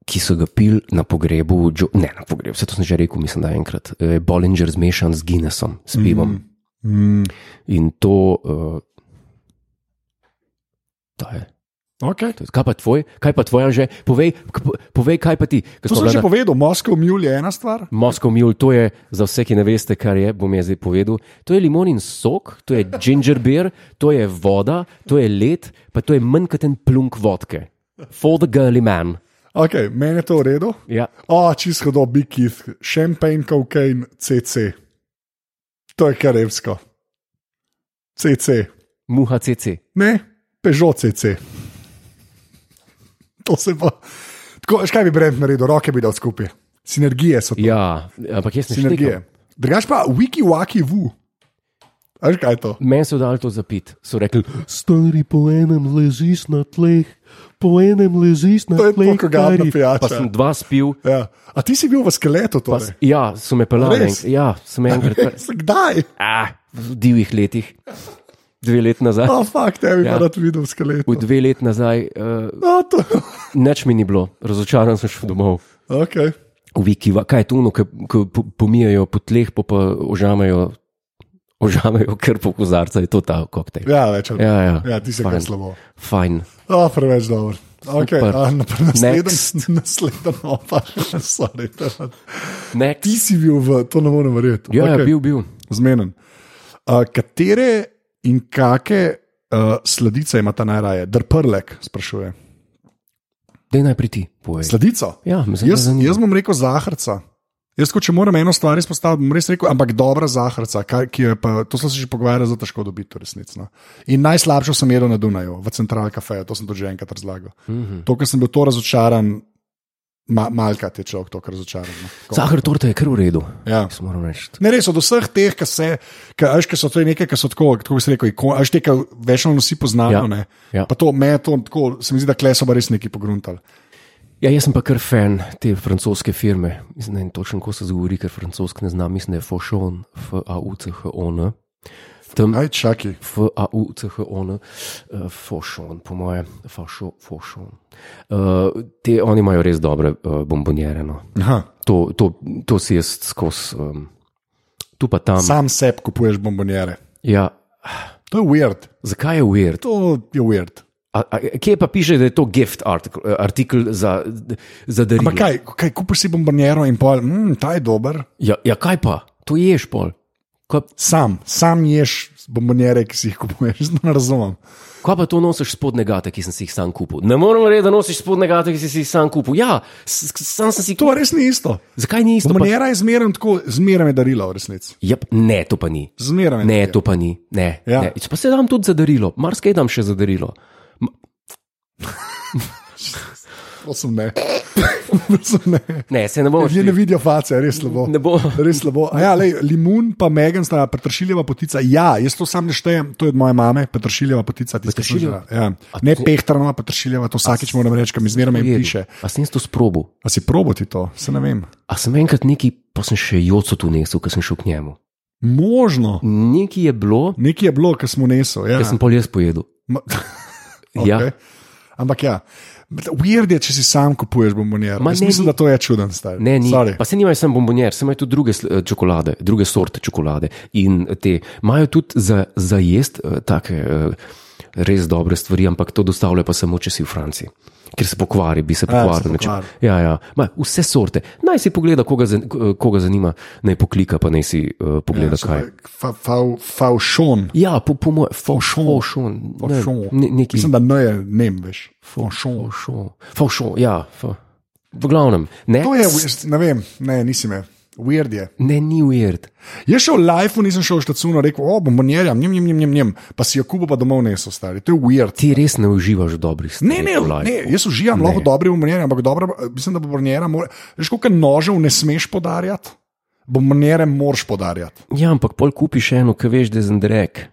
ki so ga pil na pogrebu, jo, ne na pogrebu, vse to sem že rekel, mislim, da enkrat. Eh, Bollinger zmešan z Guinnessom, s pivom. Mm.
Mm,
In to, uh, to je.
okay.
To je- Kaj pa tvoj, kaj pa tvoja že? Povej, k- po- povej kaj pa ti. Ko
To
smo
sem
bila
že
na
povedal, Moskva mul je ena stvar.
Moskov mule, to je za vse, ki ne veste, kar je, bom jaz zdaj povedal. To je limonin sok, to je ginger beer, to je voda, to je led, pa to je manj kot en plunk vodke. For the girly man.
Okay, meni je to v redu.
Ja,
O, čisto do Big Keith, champagne, cocaine, CC. To je karevsko. CC.
muha cc.
Ne, Peugeot CC. To se pa. Tako, veš, kaj bi Brent naredil, roke bi dal skupaj. Sinergije so to.
Ja, ampak jaz sem
Sinergije.
šel.
Drugač pa wiki waki vu. A Veš kaj je to?
Meni so dali to zapit, so rekli,
Stari po enem ležiš na tleh, po enem ležiš na
To je
tleh,
pokagadna
stari.
pa
pijača.
sem dva spil,
Ja. A ti si bil v skeletu
pa, s-
torej?
ja, so me pelali.
Res?
enkrat- Ja, sem enkrat. pe-
Kdaj?
ah, v divjih letih, dve leti nazaj.
O, oh, fakt, ne bi ja.
Ja.
rad videl v skeletu.
V dve leti nazaj, uh,
No, to...
nič mi ni bilo, razočaran sem šel domov.
okay.
V Viki, va- kaj je to, ono, ko, ko po- pomijajo po tleh, pa, pa ožamejo, ožamejo krpo kozarca, je to ta koktejl.
Ja, več ali
Ja, ja.
ja, ti si
Fajn.
kaj slabo.
Fajn.
O, preveč dobro. Okay,
Super.
a, na,
Next.
naslednji, naslednji, opa, sorry. to-
Next.
Ti si bil v, to ne morem verjeti.
Ja, okay.
Okej.
ja, bil, bil.
Zmenen. Uh, katere in kakšne uh, sladice ima ta najraje? Drprlek, sprašuje.
Dej najprej ti, povej.
Sladico?
Ja, me
Jaz,
zanima.
jaz bom rekel zahrca. Jaz, ko če moram eno stvar izpostaviti, bom res rekel, ampak dobra zahrca, kaj- ki je pa, to smo se že pogovarjali, zelo težko dobiti, resnično. no. In najslabšo sem jedel na Dunaju, v Central Cafeju, to sem tudi že enkrat razlagal. Mm
Mhm.
-hmm. To, ker sem bil to razočaran, ma, malka je človek to razočaran. no. Tako.
Zahar torta je kar v redu.
Ja.
Jaz moram reči.
Ne, res od vseh teh, ki se, ki veš, ki so to nekaj, ki so tako, tako kot se reče, veš, te, ki več ali manj vsi poznajo.
Ja,
ne.
ja.
Pa to me, to tako, se mi zdi, da kle so pa res neki pogruntali.
Ja, jaz sem pa kar fan te francoske firme. Mislim, ne vem točno, kako se zgodi, ker francosk ne znam, mislim, da je Fošon, F-A-U-C-H-O-N. Tam
Aj, čakaj.
F-A-U-C-H-O-N, eh, Fošon, po moje, Fašo, Fošon. Eh, Te oni imajo res dobre eh, bombonjere. No.
Aha,
To, to, to si jaz skozi, um, tu pa tam.
sam sebi kupuješ bombonjere.
Ja.
To je weird.
Zakaj je weird?
To je weird.
A, a, kje pa piše, da je to gift artikel, artikel za, za darilo?
Pa kaj, kaj kupiš si bombonjero in pol, mm, ta je dober.
Ja, ja, kaj pa, to ješ pol. Kaj,
Sam, sam ješ bombonjere, ki si jih kupuješ, ne razumem.
kaj pa to nosiš spodne gate, ki sem si jih sam kupil? Ne morem reči, da nosiš spodne gate, ki si si jih sam kupil. Ja, s- s- sam sem si jih
To
kupil.
res ni isto.
Zakaj ni isto? Pa,
Bombonjera je zmeraj tako, zmeraj je darilo v resnici.
Jep, ne, to pa ni.
Zmeraj.
Ne, to pa ni. Ne, ja.
Ja.
ne. Pa se dam tudi za darilo, marsikaj dam še za darilo.
Prosim, ne. Prosim, ne.
Ne, se ne bomo
Ljudje ne
šli.
vidijo face, res slabo.
Ne bo.
Res slabo. A Ja, lej, limun pa Megan sta petršiljeva potica. Ja, jaz to sam ne štejem, to je od moje mame, petršiljeva potica. tisto sem
Peteršiljeva?
že- Ja. Ne pehtrana petršiljeva, to vsakič moram reči, kam izmerno jim piše.
A sem jaz to sprobil?
A si proboti to, se ne vem.
A sem enkrat neki, pa sem še joco tu nesel, ker sem šel k njemu.
Možno.
Nekaj je bilo,
Nekaj je bilo, kar smo nesli. Ja.
ker sem pol jaz pojedel.
Ma-
Ja.
Ok. Ampak ja, weird je, če si sam kupuješ bombonjero.
Ma
Jaz
ne,
Mislim,
ni-
da to je čuden stvar.
Ne, ni. Pa se nimajo samo bombonjer, se imajo tudi druge sl- eh, čokolade, druge sorte čokolade. In te imajo tudi za, za jesti eh, take eh, res dobre stvari, ampak to dostavljajo pa samo, če si v Franciji. Ker se pokvari, bi se
se
pokvaril. nečem.
pokvari.
Ja, ja. Ma, vse sorte. Naj si pogleda, koga, zan- eh, koga zanima, naj poklika, pa naj si uh, pogleda, ja, kaj.
Favšon.
Ja, po, po mojem,
Fauchon.
fošon.
Fauchon.
Ne, neki
Mislim, da ne je, ne veš. Favšon.
fošon. Fošon, ja. Fa. V glavnem, ne,
To je, weird, ne vem, ne, nisem je. Weird je.
ne ni ujerd.
Jaz šel v live, nisem šel v štacun, rekel, o, bombonjerja, njem, njem, njem, njem, njem, pa si jo kubo pa domov nesel, stari. To je weird.
Ti res ne uživaš v dobrih stvareh.
Ne, ne,
v lifeu.
ne, jaz uživam lahko dobre bombonjere, ampak dobro, mislim, da bombonjera mora. Veš, koliko nožev ne smeš podarjati, bombonjere moraš podarjati.
Ja, ampak pol kupiš eno, ki veš, da je zendrek.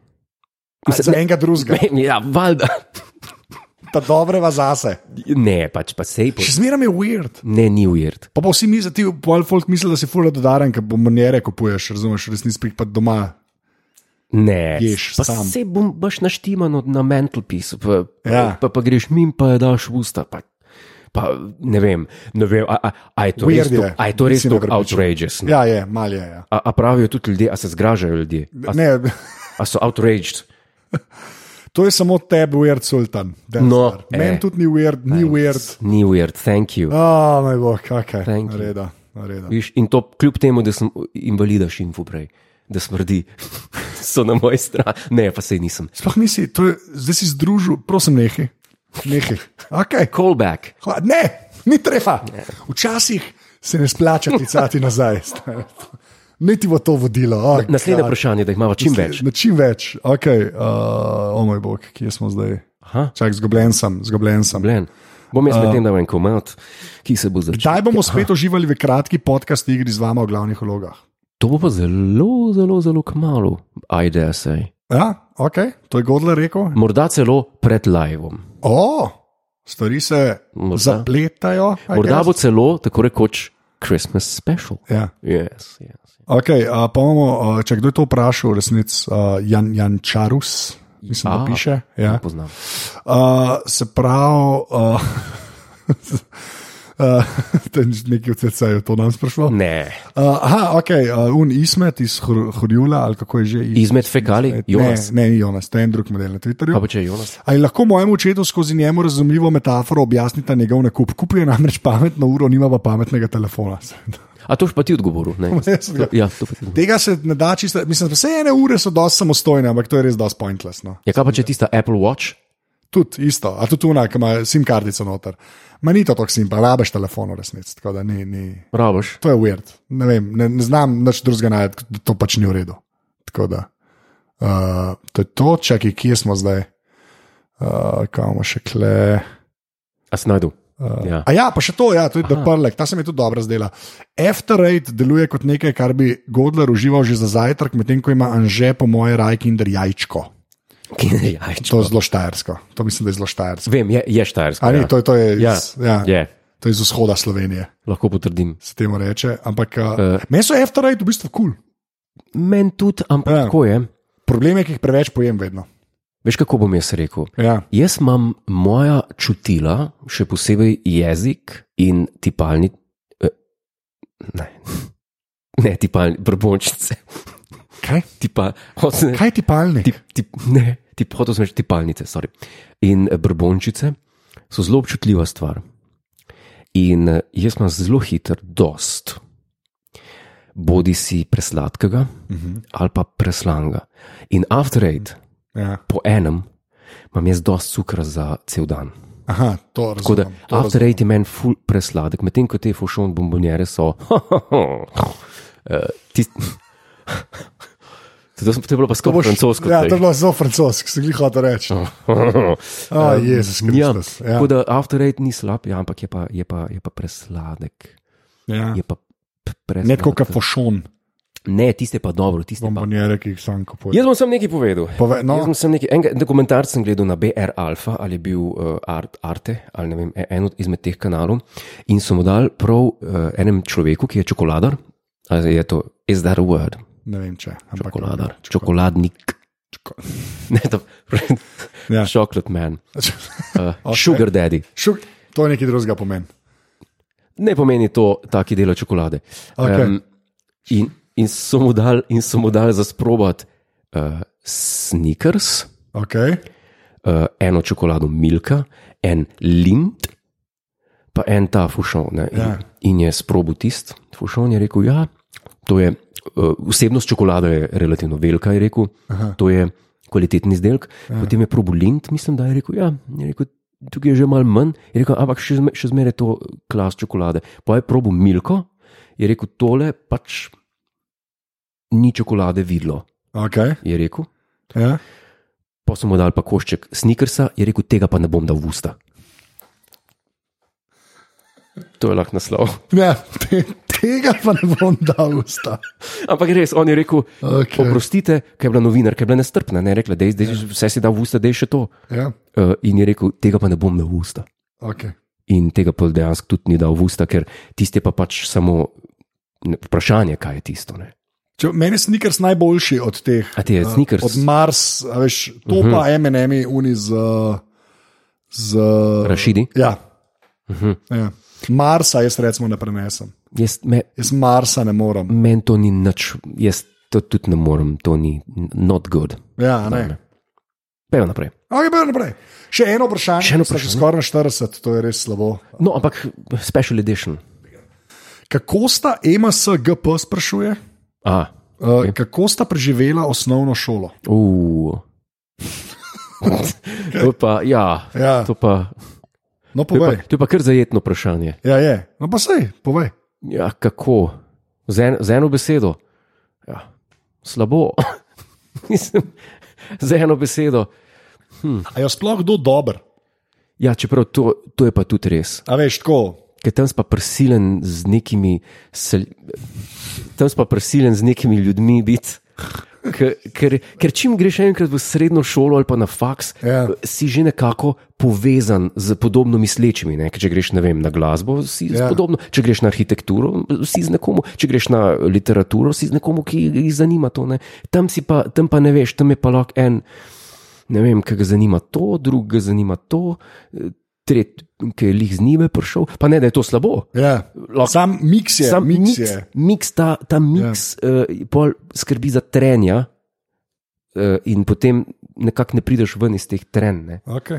Mislim, za enega drugega,
Ja, valjda.
ta dobreva zase.
Ne, pač pa sej po.
Še zmeraj je weird.
Ne, ni ujerd.
Pa, pa vsi mi za ti, pol folk misli, da si fura dodaren, ker bombonjere kupuješ, razumeš, v resnici prik pa doma.
Ne,
Ješ
pa
sam.
sej bom baš naštiman od- na mentalpisu, pa,
Ja.
ja. pa, pa greš min, pa je daš v usta. Pa, pa ne vem, ne vem, a, a, a je to res,
Weird
to,
je.
a je to res
Nisem
tako
prepričan.
outrageous. Ja.
Ja, je, mal je. Ja.
A, a pravijo tudi ljudje, a se zgražajo ljudje, a,
Ne,
a so outraged.
to je samo tebi, weird sultan. that's
No,
it. meni
eh.
tudi ni weird, ni weird.
Ni ujerd, thank you.
Oh, moj bog, kakaj.
Thank you.
Reda, reda.
Ja. Viš, in to kljub temu, da sem invalida šimfu prej, da smrdi, so na moji strani. Ne, pa sej nisem.
Sploh nisi, to je, zdaj si združil, prosim, nehi. Nehi. Okay.
Callback.
Hva, ne, ni treba. Včasih se ne splača klicati nazaj. stari. Ne ti bo to vodilo. Oh,
Naslednje vprašanje, da jih imamo čim več.
Na čim več, okay, uh, o moj bog, kje smo zdaj?
Aha.
Čak, zgobljen sem, zgobljen sem.
Blen. Bom jaz
Eh.
medtem dal en komat, ki se bo začel.
Kdaj bomo spet uživali v kratki podcast igri z vama o glavnih vlogah?
To bo pa zelo, zelo, zelo kmalo, ajde se.
Ja, ok, to je Godler rekel.
Morda celo pred livom.
O, stvari se
Morda.
zapletajo. I
Morda
guess.
bo celo, tako rekoč, Christmas special.
Ja.
Yes, yes. ja,
Okay, uh, pa imamo, uh, če kdo je to vprašal, resnic uh, Jan, Jan Čarus, mislim, da
A.
piše. Ja.
Poznam.
Uh, se pravi, uh, uh, to je nekaj v CC-ju, to nam sprašuje. Uh,
Ne,
aha, ok, uh, un ismet iz Hor- Horjula ali kako je že. Ismet.
izmed fekali, Jonas.
Ne, ne, Jonas, to je en drug model na Twitterju.
Pa pa če je Jonas.
Ali lahko mojemu očetu skozi njemu razumljivo metaforo objasnite njegov nakup? Kupil je namreč pametno uro, nima pa pametnega telefona.
A to už pa ti odgovoril? Ne,
jaz sem ga-
ja, to pa ti odgovoril.
Tega se ne da čisto, mislim, vse ene ure so dosti samostojne, ampak to je res dosti pointless. No.
Ja, kaj pa če je tista Apple Watch?
Tudi isto, a tudi unak, ima sim kartico noter. Ma ni to tako simpa, rabiš telefon v resnici, tako da ni, ni.
Rabaš.
To je weird. Ne, vem, ne, ne znam nič drugega najti, kot da to pač ni v redu. Tako da. Uh, to je to, čakaj, kje smo zdaj, uh, kam smo še kle.
A si najdu. Ja.
A ja, pa še to, ja, to je deprlek, ta se mi tudi dobro zdela. After Eight deluje kot nekaj, kar bi Godler užival že za zajtrk, medtem ko ima Anže, po moje, raj kinder jajčko.
Jajčko.
To je zelo štajersko, to mislim, da je zelo štajersko.
Vem, je, je štajersko.
A ni,
ja.
to, je- to je
Ja.
iz- ja.
Je.
to je iz vzhoda Slovenije,
lahko potrdim.
se temu reče. Ampak uh,
Eh.
meso je after right v bistvu kul. Cool.
Meni tudi, ampak
Ja.
ja. tako je.
Problem je, ki jih preveč pojem vedno.
Veš, kako bom jaz rekel?
Ja.
Jaz imam moja čutila, še posebej jezik in tipalni. eh, Ne, ne tipalni, brbončice.
Kaj?
Tipa, hočem-
Kaj ti palni?
tip, tip, ne, tip, hotel sem reči tipalnice, sorry. In eh, brbončice so zelo občutljiva stvar. In eh, jaz sem zelo hiter, dost. Bodi si presladkega uh
Mhm.
-huh. ali pa preslanga. In after eight,
Ja.
po enem, imam jaz dost cukra za cel dan.
Aha, to
Tako da
razumem. to
after eight je meni ful presladek, medtem ko te fušon bombonjere so. eh, tist- To sem- to je bilo pa
To
skoraj francosko. zdaj.
Ja,
Oh.
to je bilo zelo francosko, sem jih hotel reči. A, Jezus
Ja,
Kristus. Ja,
tako da After Eight ni slab, ja, ampak je pa, je pa, je pa presladek.
ja.
Je pa p- presladek.
Ne tako, kot
Ja.
fošon,
Ne, tiste pa dobro, tiste pa.
bombonjere, ki jih sam kupujem.
Jaz bom sem nekaj povedal.
Pove,
Jaz
no,
bom sem nekaj, en dokumentar sem gledal na BR Alfa ali je bil uh, Art, Arte ali ne vem, e- en od izmed teh kanalov in so mu dali prav uh, enem človeku, ki je čokoladar, ali je to, is that a word?
ne vem če. Ampak,
Čokoladar, čokoladnik.
Čoko-
Ne, to,
Ja.
ja. Chocolate man, uh,
Ok.
okay. sugar daddy.
Šuk, to je nekaj drugega pomen.
ne pomeni to, ta, ki dela čokolade.
Okej.
Em, in, in so mu dali dal za sprobati uh, sneakers,
Okay.
uh, eno čokolado Milka, en Lind, pa en ta fušon. Ne, in,
Ja.
ja. in je sprobil tisti. Fušon je rekel: Ja, to je. Uh, vsebnost čokolade je relativno velika, je rekel, Aha. to je kvaliteten izdelek. Ja. Potem je probil Lind, mislim, da je rekel: Ja, je rekel, tukaj je že malo manj, je rekel, ampak še, zme- še zmeraj je to eh, klas čokolade. Pa je probil Milko, je rekel: Tole pač ni čokolade videlo,
Okay.
je rekel.
Ja.
Pa so mu dali pa košček snikersa, je rekel: tega pa ne bom dal v usta. To je lahko naslov.
Ja, te, tega pa ne bom dal v usta.
Ampak res, on je rekel:
Okej.
okay. oprostite, ker je bila novinarka, je bila nestrpna, ne je rekla, da je zdaj vse si dal v usta, da je še to.
Ja.
Uh, in je rekel: tega pa ne bom dal v usta.
Okay.
In tega pa dejansko tudi ni dal v usta, ker tiste pa pač samo ne, vprašanje, kaj je tisto. Ne.
Če, meni je snikers najboljši od teh.
A ti je Mhm.
eh,
Snickers?
Od Mars, a veš, to uh -huh. pa MM-i, uni z. z
Rašidi,
ja.
Mhm.
Uh -huh. ja. Marsa jaz recimo ne prenesem.
jaz me,
Jaz Marsa ne morem.
meni to ni nič, jaz to tudi ne morem, to ni n- not good.
Ja, a ne.
Pejmo naprej.
Okay, pa naprej. Še eno vprašanje,
Še eno
sva
vprašanje.
Že skoraj na 40, to je res slabo.
No, ampak special edition.
Kako sta MSGP sprašuje, uh,
A,
okay. kako sta preživela osnovno šolo?
uh. to pa, ja,
Ja.
to pa.
No,
To je, pa,
povej.
to je pa kar zajetno vprašanje.
Ja, je. No, pa sej, povej.
Ja, kako? Z, en, z eno besedo. Ja, slabo. Mislim, z eno besedo.
A je sploh kdo dober?
Ja, čeprav to, to je pa tudi res.
A veš, tako.
Ker tam si pa prisilen z nekimi, sel, tam si pa prisilen z nekimi ljudmi biti. Ker, ker, ker čim greš enkrat v srednjo šolo ali pa na faks,
Ja.
si že nekako povezan z podobno mislečimi. Ne? Ker Če greš ne vem, na glasbo, si
Ja.
ja. podobno, če greš na arhitekturo, si z nekom, če greš na literaturo, si z nekom, ki jih zanima to. Ne? Tam, si pa, tam pa ne veš, tam je pa lahko en, ne vem, ki ga zanima to, drug ga zanima to, eh, tret, ki je lih z njime prišel. Pa ne, da je to slabo.
Ja.
Lahko-
Sam miks je.
Sam miks,
miks je. Ja.
miks ta, ta miks yeah. uh, pol skrbi za trenja, uh, in potem nekako ne prideš ven iz teh trenj. ne.
Okay.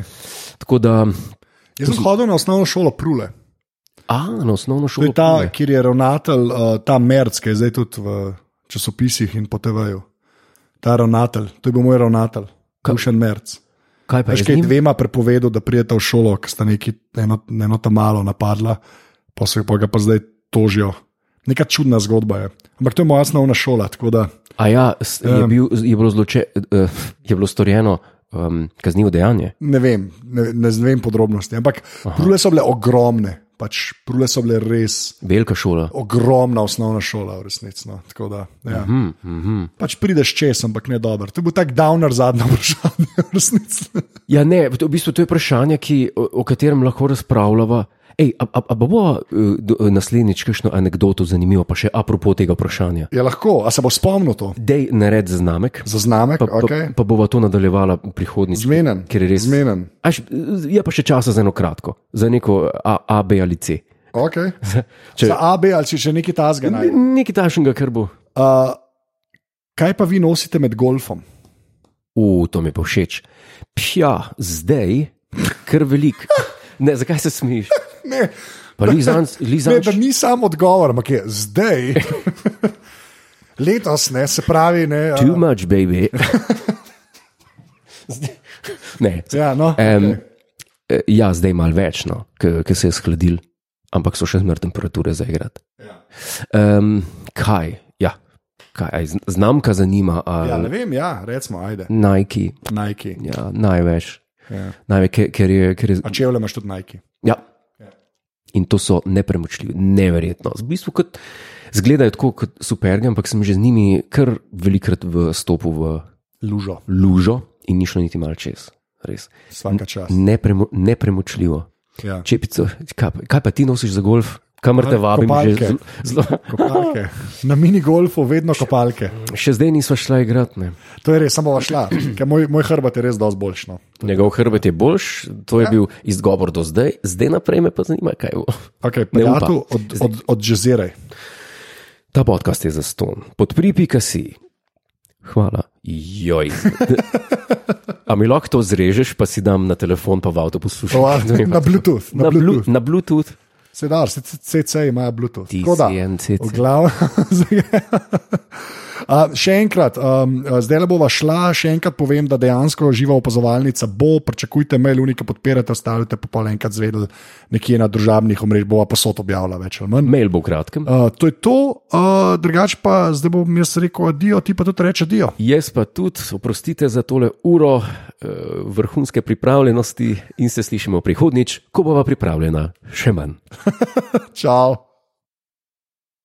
Tako da,
Jaz sem hodil na osnovno šolo Prule.
a na osnovno
To
šolo.
je ta,
pride.
kjer je ravnatelj, uh, ta Merc, ki je zdaj tudi v časopisih in po TV-ju. Ta ravnatelj, to je bil moj ravnatelj, Kušen Merc.
Kaj pa je z
Veš, kaj je
njim?
dvema prepovedal, da prijeta v šolo, ker sta neki eno, eno tam malo napadla, pa so jo pa ga pa zdaj tožijo. Neka čudna zgodba je. Ampak to je moja osnovna šola, tako da
A ja, s- je, bil, je, bilo zloče, uh, je bilo storjeno um, kaznivo dejanje.
ne vem, ne, ne vem podrobnosti. Ampak prule so bile ogromne, pač prule so bile res
Velika šola.
ogromna osnovna šola, v resnici. No. Tako da, ja.
Mm, mm.
Pač prideš čez, ampak ne dober. To je bil tak downer zadnji vprašanje, v resnici.
Ja, ne, v v bistvu to je vprašanje, ki, o, o katerem lahko razpravljava. Ej, a, a, a bo eh, naslednjič kakšno anegdoto zanimivo, pa še apropo tega vprašanja.
Je Ja, lahko, a se bo spomnil to
Dej naredi znamek,
za znamek,
pa,
okay.
pa, pa bova to nadaljevala prihodnjič.
zmeden.
Ker je res.
Zmeden.
A še- Je pa še časa za eno kratko, za neko A, a B ali C.
Okay.
Če-
Če... Za AB ali če še nekaj tasga. Uh,
N- Nekaj tašnega, kar bo.
kaj pa vi nosite med golfom?
U, to mi je pa všeč. Pja, zdaj, kar velik. Ne, zakaj se smiš?
Ne,
Pa Lizanč,
ne da
Lizanč,
ni sam odgovor, ampak je zdaj. Letos ne, se pravi, ne.
too
Uh,
much, baby. Ne.
ja, no,
Um,
okay.
ja, zdaj malo več, no, ker se je skladil, ampak so še zmer temperature za igrati.
ja.
Um, kaj, ja, kaj, aj z- znamka zanima,
ja,
ali
ne vem, ja, recimo, ajde,
Nike,
Nike.
ja, največ,
Ja.
največ ker, ker je. Ker je
A če vle imaš tudi Nike.
ja. In to so nepremočljivi, neverjetno. V bistvu kot, zgledajo tako kot superge, ampak sem že z njimi kar velikrat v stopu v
Lužo,
lužo in ni šlo niti malo čez. Res.
vsaka čas.
Nepremo, nepremočljivo.
Ja.
Čepico, kaj, pa- kaj pa ti nosiš za golf? Kamor te
Kopalke.
vabim, že zelo- zelo.
Kopalke. Na minigolfu vedno kopalke.
Še zdaj nismo šla igrati. Ne.
To je res, samo šla. Ker moj, moj hrbet je res dosti no. boljšno.
Njegov hrbet je boljš, to
Ja.
je bil izgovor do zdaj, zdaj naprej me pa zanima, kaj bo.
Okay,
Ne upa.
Prijatelj od, od, od Jeziraj.
Ta podcast je za ston. Podpri, pika si. Hvala. Joj. A mi lahko to zrežeš, pa si dam na telefon, pa v avto poslušam.
Na Bluetooth.
Na, blu, na Bluetooth.
Se da, se CC imajo Bluetooth.
Ti
Tako da,
si en CC.
v glavnem, zdaj- A, še enkrat, um, zdaj le bova šla, še enkrat povem, da dejansko živa opazovalnica bo, pričakujte mail, unika podpirate, ostavite pa pol enkrat zvedeli nekje na družabnih omrežjih, bova posod objavila več ali manj.
Mail bo v kratkem.
Uh, to je to, uh, drugače pa zdaj bom jaz rekel, adijo, ti pa tudi reče, adijo.
Jaz pa tudi, oprostite za tole uro eh, vrhunske pripravljenosti in se slišimo prihodnič, ko bova pripravljena še manj.
Čau.